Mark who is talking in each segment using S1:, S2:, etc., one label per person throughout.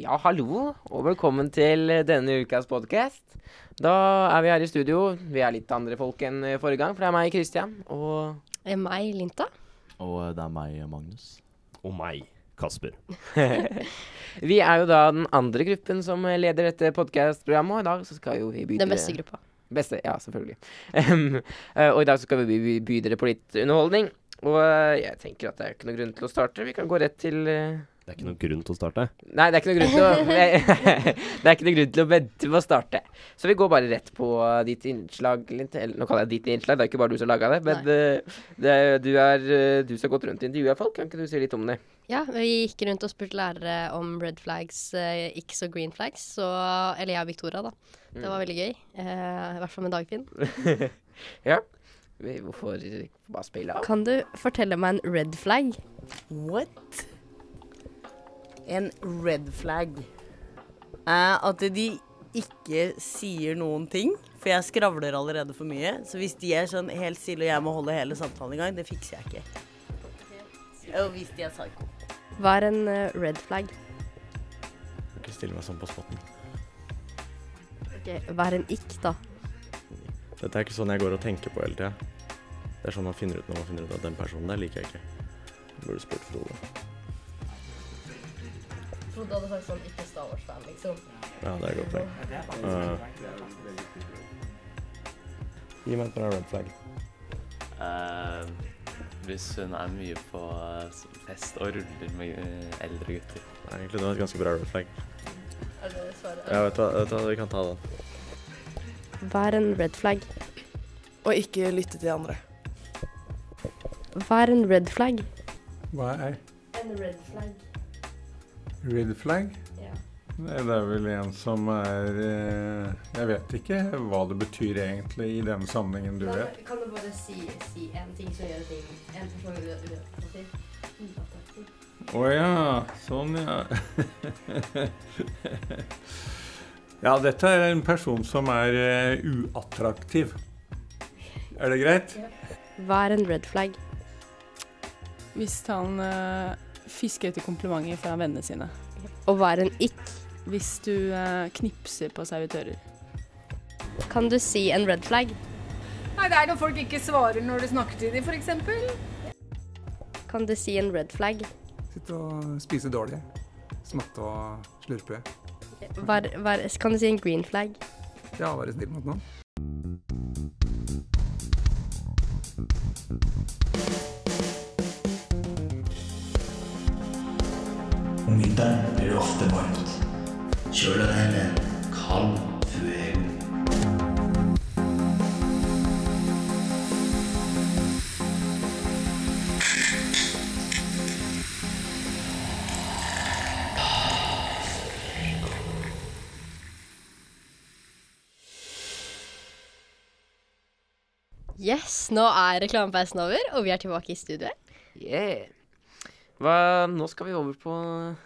S1: Ja, hallo, og velkommen til denne ukas podkast. Da er vi her i studio. Vi er litt andre folk enn eh, forrige gang, for det er meg, Christian, og
S2: Eh, Meg, Linta.
S3: Og eh, det er meg, Magnus.
S4: Og meg, Kasper.
S1: Vi er jo da den andre gruppen som eh, leder dette podkastprogrammet, og i dag så skal jo vi by
S2: Den
S1: dere-
S2: beste gruppa.
S1: Beste, ja, selvfølgelig. Em, eh, og i dag så skal vi by, by dere på litt underholdning. Og eh, jeg tenker at det er ikke noe grunn til å starte. Vi kan gå rett til eh,
S4: Det er ikke noen grunn til å starte.
S1: Nei, det er ikke noe grunn til å Det er ikke noe grunn til å vente med å starte. Så vi går bare rett på eh, ditt innslag. Lint- Eller nå kaller jeg ditt innslag, det er ikke bare du som laga det. Men eh, det er, du er eh, du som har gått rundt og intervjua folk. Kan ikke du si litt om det?
S2: Ja, vi gikk rundt og spurte lærere om red flags, eh, ikke så green flags. Så, eller jeg og Victoria, da. Det var veldig gøy. Eh, I hvert fall med Dagfinn.
S1: Ja. Vi- Hvorfor bare spille av?
S5: Kan du fortelle meg en red flag?
S6: What? En red flag er at de ikke sier noen ting. For jeg skravler allerede for mye. Så hvis de er sånn helt stille og jeg må holde hele samtalen i gang, det fikser jeg ikke. Og hvis de er psyko.
S5: Hva er en eh, red flag?
S7: Ikke stille meg sånn på spotten.
S5: Ok, Hva er en ikk, da?
S7: Dette er ikke sånn jeg går og tenker på hele tida. Det er sånn man finner ut når man finner ut at den personen der liker jeg ikke. Jeg burde spurt Frode.
S5: Trodde du hadde sagt sånn ikke Star Wars-fan, liksom.
S7: Ja, det er et godt poeng. Eh, gi meg et bra red flag.
S8: Eh, hvis hun er mye på eh, fest og ruller med eh, eldre gutter.
S7: Nei, egentlig det var et ganske bra red flag.
S5: Er det svaret?
S7: Ja, vet du hva, vet du hva? vi kan ta den.
S5: Hva er en red flag?
S9: Og ikke lytte til andre.
S5: Hva er en red flag?
S10: Hva er
S5: En red flag.
S10: red flag?
S5: Ja.
S10: Nei, det er vel en som er eh, Jeg vet ikke hva det betyr egentlig i den sammenhengen du vet.
S5: Kan du bare si, en ting som gjør ting En person Mm,
S10: Å ja, sånn ja. ja, dette er en person som er eh, uattraktiv. Er det greit?
S5: Hva er en red flag?
S9: Hvis han eh, fisker etter komplimenter fra vennene sine.
S5: Og hva er en ikk?
S9: Hvis du eh, knipser på servitører.
S5: Kan du si en red flag?
S11: Nei, det er når folk ikke svarer når du snakker til dem, f.eks.
S5: Kan du si en red flag?
S10: Sitte og spise dårlig. Smatte og slurpe.
S5: Hva er, hva er, kan du si en green flag?
S10: Ja, være snill mot noen.
S12: Om vinteren blir det ofte varmt. Kjøl deg ned med en kald fuego.
S2: Yes, nå er reklamepausen over, og vi er tilbake i studioet.
S1: Yeah. Hva, nå skal vi over på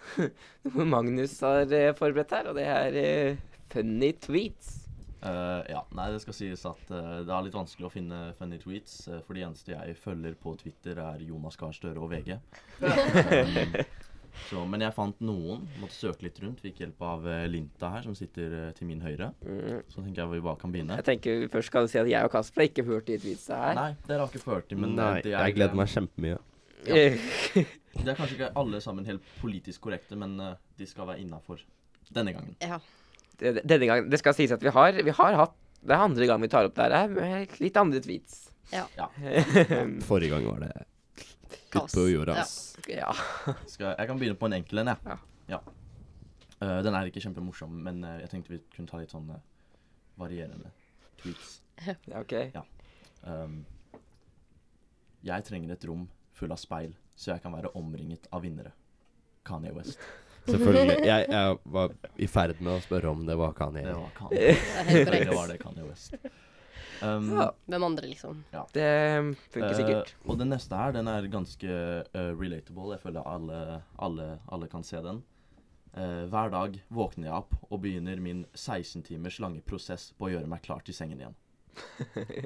S1: noe Magnus har eh, forberedt her, og det er eh, funny tweets.
S3: Eh, ja, nei, det skal sies at eh, det er litt vanskelig å finne funny tweets, eh, for de eneste jeg følger på Twitter, er Jonas Gahr Støre og VG. Eh, så, men jeg fant noen, måtte søke litt rundt. Fikk hjelp av eh, Linta her, som sitter eh, til min høyre.
S1: Mm.
S3: Så tenker jeg vi bare kan begynne.
S1: Jeg tenker vi først skal si at jeg og Kasper har ikke hørt de tweetsa her.
S3: Nei, dere har ikke ført dem, men eh,
S7: Nei,
S3: det er, eh,
S7: jeg gleder meg kjempemye.
S3: Det er kanskje ikke alle sammen helt politisk korrekte, men eh, de skal være innafor denne gangen.
S2: Ja.
S1: Det- Denne gangen, Det skal sies at vi har, vi har hatt Det er andre gang vi tar opp det her, med litt andre tweets.
S7: Forrige gang var det
S2: Kaos. Ja.
S1: Ja.
S3: Skal, jeg kan begynne på en enkel en, jeg.
S1: Ja.
S3: Ja. Eh, den er ikke kjempemorsom, men eh, jeg tenkte vi kunne ta litt sånn eh, varierende tweets.
S1: ja, ok.
S3: Um, jeg trenger et rom full av speil, så jeg kan være omringet av vinnere. Kanye West.
S7: Selvfølgelig. Jeg, jeg var i ferd med å spørre om det var Kanye.
S3: Det var Kanye,
S2: Det er helt
S3: det
S2: korrekt.
S3: var det Kanye West. Um,
S1: Ja,
S2: Hvem andre, liksom?
S1: Det funker
S3: eh,
S1: sikkert.
S3: og den neste her, den er ganske eh, relatable. Jeg føler alle, alle, alle kan se den. Eh, hver dag våkner jeg opp og begynner min 16 timers lange prosess på å gjøre meg klar til sengen igjen.
S1: Eh.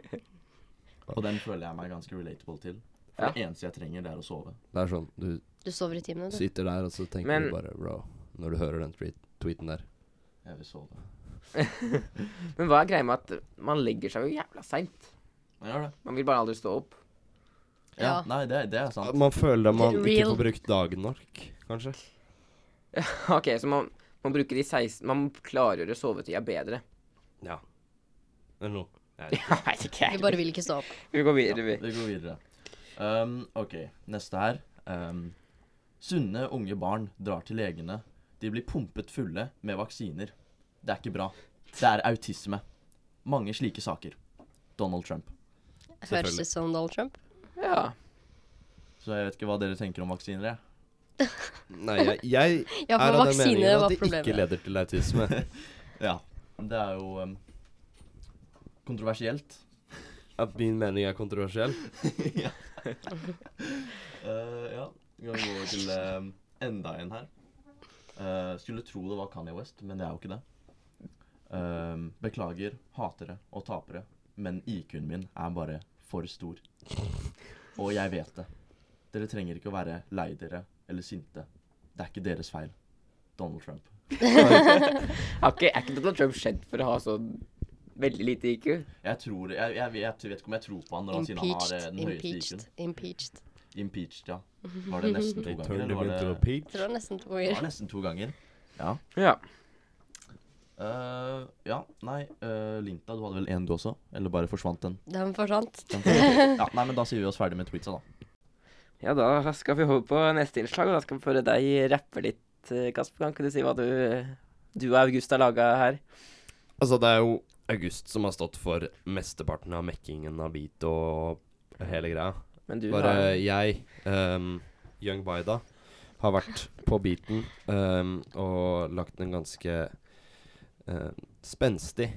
S3: og den føler jeg meg ganske relatable til. For
S1: Ja.
S3: det eneste jeg trenger, det er å sove.
S7: Det er sånn, du
S2: Du sover i timene, du.
S7: sitter der, og så tenker
S1: Men-
S7: du bare bro, når du hører den tweet-
S4: tweeten der.
S3: Jeg vil sove.
S1: Men hva er greia med at man legger seg jo jævla seint?
S3: Man gjør det.
S1: Man vil bare aldri stå opp.
S3: Ja, nei, det, det er sant.
S4: Man føler at man ikke
S1: Real.
S4: får brukt dagen nok, kanskje.
S1: OK, så man, man bruker de 16 Man klargjør sovetida bedre.
S4: Ja. Eller noe.
S1: Jeg vet ikke.
S2: Vi bare vil ikke stå opp.
S1: Vi går videre, vi.
S3: vi går videre. Um, ok, neste her. Um, sunne unge barn drar til legene. De blir pumpet fulle med vaksiner. Det er ikke bra. Det er autisme. Mange slike saker. Donald Trump.
S2: Høres ut som Donald Trump.
S1: Ja.
S3: Så jeg vet ikke hva dere tenker om vaksiner, jeg.
S4: Nei, jeg, jeg
S2: Ja, for
S4: er av den
S2: vaksine
S4: meningen
S2: var
S4: at det
S2: problemet.
S4: ikke leder til autisme.
S3: ja. Det er jo um, kontroversielt.
S4: At min mening er kontroversiell?
S3: ja. Eh, ja. Vi kan gå til eh, enda en her. Eh, skulle tro det var Kanye West, men det er jo ikke det. Eh, beklager hatere og tapere, men IQ-en min er bare for stor. Og jeg vet det. Dere trenger ikke å være lei dere eller sinte. Det er ikke deres feil. Donald Trump.
S1: Har ikke, er ikke Donald Trump kjent for å ha så veldig lite IQ?
S3: Jeg tror Jeg, jeg, jeg, vet ikke om jeg tror på han når han sier han har eh,
S2: Impeached,
S3: den høyeste
S2: impeached,
S3: IQ-en.
S2: impeached.
S3: Impeached, ja. Var det nesten to
S4: They
S3: ganger?
S4: turned
S3: eller
S4: him
S3: var
S4: into
S3: det-
S4: a pig.
S2: Jeg tror det er nesten to
S3: Det var
S2: ganger.
S3: nesten to ganger. Ja. Eh, ja, nei eh, Linta, du hadde vel én du også? Eller bare forsvant den?
S2: Den forsvant.
S3: Den forsvant. ja, nei, men Da sier vi oss ferdig med tweetsa, da.
S1: Ja, da skal vi over på neste innslag, og da skal vi høre deg rappe litt, eh, Kasper. Kan ikke du si hva du, du og August har laga her?
S4: Altså, det er jo August som har stått for mesteparten av mekkingen av beat og hele greia.
S1: Men du
S4: Bare
S1: har-
S4: jeg, ehm, Young Baida, har vært på beaten ehm, og lagt en ganske ehm, spenstig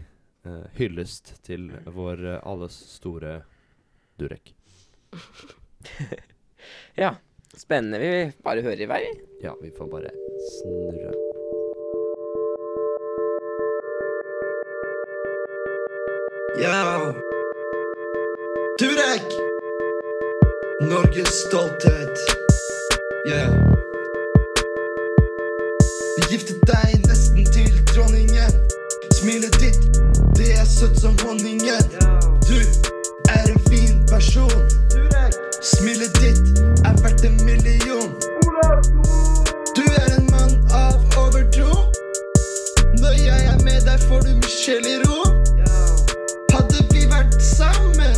S4: eh, hyllest til vår eh, alles store Durek.
S1: Ja. Spennende. Vi bare hører i vei. vi.
S4: Ja, vi får bare snurre.
S12: Yo! Turek! Norges stolthet. Yeah. Vi giftet deg nesten til dronningen. Smilet ditt, det er søtt som honningen. Du er en fin person. Smilet ditt er verdt en million. Du er en mann av overtro. Når jeg er med deg, får du min sjel i ro. Hadde vi vært sammen,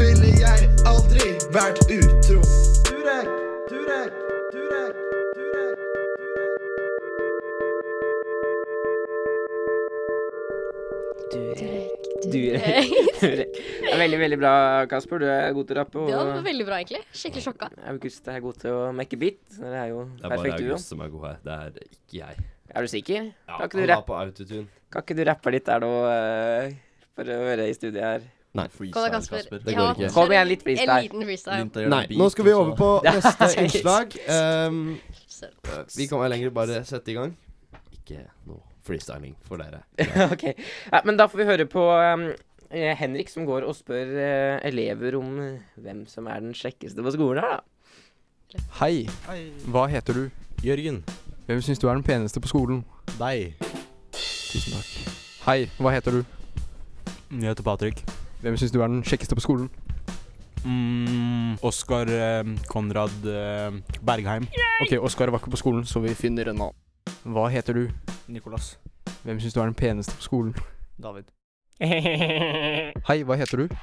S12: ville jeg aldri vært utro. Durek, Durek, Durek, Durek.
S1: Durek,
S2: Durek.
S1: Durek. Det er Veldig, veldig bra, Kasper. Du er god til å rappe.
S2: Det var
S1: Og
S2: veldig bra, egentlig. Skikkelig sjokka.
S1: August er god til å mekke beat. så Det er jo
S4: Det er bare
S1: perfekt duo.
S4: August som er god her, det er ikke jeg.
S1: Er du sikker? kan,
S4: Ja,
S1: ikke
S4: han
S1: du
S4: var
S1: rappe,
S4: på autotune.
S1: kan ikke du rappe litt der nå, eh, for å være i studiet her?
S4: Nei.
S2: Kom da, Kasper. Kasper.
S4: Det går ikke.
S1: Kom igjen, litt freestyle.
S2: En liten freestyle.
S4: Nei, nå skal vi over på
S1: Ja.
S4: neste innslag. Ehm, vi kan vel lenger bare sette i gang. Ikke noe freestyling for dere.
S1: ok. Ja, men da får vi høre på um, eh, Henrik som går og spør eh, elever om eh, hvem som er den kjekkeste på skolen her, da.
S13: Hei.
S1: Hei.
S13: Hva heter du? Jørgen. Hvem syns du er den peneste på skolen? Deg. Tusen takk. Hei. Hva heter du?
S14: Jeg heter Patrick.
S13: Hvem syns du er den kjekkeste på skolen?
S14: Mm, Oskar eh, Konrad eh, Bergheim.
S13: Ok, Oskar var ikke på skolen, så vi finner en annen. Hva heter du?
S14: Nikolas.
S13: Hvem syns du er den peneste på skolen?
S14: David.
S13: Hei, hva heter du?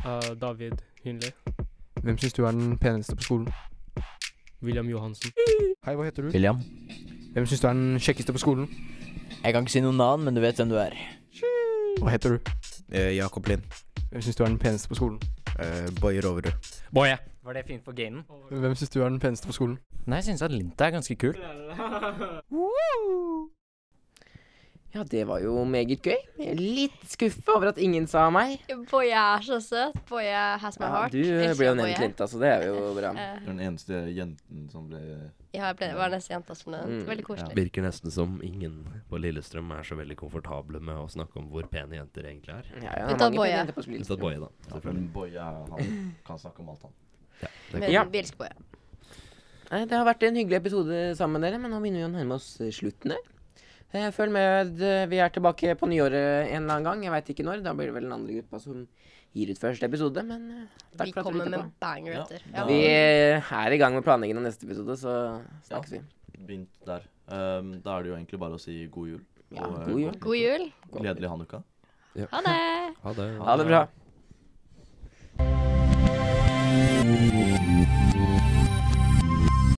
S15: Eh, David Hyndler.
S13: Hvem syns du er den peneste på skolen?
S15: William Johansen.
S13: Hei, hva
S3: altså.
S13: heter du?
S16: William.
S13: Hvem syns du er den kjekkeste på skolen?
S16: Jeg kan ikke si noen navn, men du vet hvem du er.
S13: Hva heter du?
S17: Jakob Lind.
S13: Hvem syns du er den peneste på skolen?
S17: Boje Roverud.
S13: Boje.
S16: Var det fint for gamen?
S13: Hvem syns du er den peneste på skolen?
S16: Nei, jeg syns at Linta er ganske kul.
S1: Ja, det var jo meget gøy. Jeg er litt skuffa over at ingen sa meg.
S2: Boye er så søt. Boye has my
S1: Ja,
S2: heart.
S1: du eh,
S2: Elsker
S1: ble jo
S2: Boye.
S1: nevnt Linta, så det er jo bra.
S2: Eh,
S3: Den eneste jenten som ble
S2: Ja, jeg ble, var nesten jenta som ble nevnt.
S4: Mm,
S2: Veldig koselig.
S4: Virker nesten som ingen på Lillestrøm er så veldig komfortable med å snakke om hvor pene jenter egentlig er.
S1: Ja,
S2: ja, Unntatt mange pene Boje. jenter på
S4: Unntatt Boje, da.
S3: Ja, for Boje er- han kan snakke om alt, han.
S4: Det
S2: Men
S4: kan-
S2: vi elsker Boye.
S1: Nei, Eh, Det har vært en hyggelig episode sammen med dere, men nå begynner vi å nærme oss eh, slutten her. Eh, Følg med. eh, Vi er tilbake på nyåret en eller annen gang. Jeg veit ikke når. Da blir det vel den andre gruppa som gir ut første episode, men eh,
S2: Vi
S1: takk for at
S2: kommer
S1: dere lytta
S2: med
S1: på.
S2: banger etter.
S1: Ja. Vi eh, er i gang med planleggingen av neste episode, så snakkes vi.
S3: Begynt der. Ehm, da er det jo egentlig bare å si god jul.
S1: Ja,
S3: og, eh,
S1: god jul.
S3: godt
S2: God jul.
S3: nyttår. Gledelig hanukka.
S2: Ha det.
S4: Ha det.
S1: Ha det bra.
S3: bra.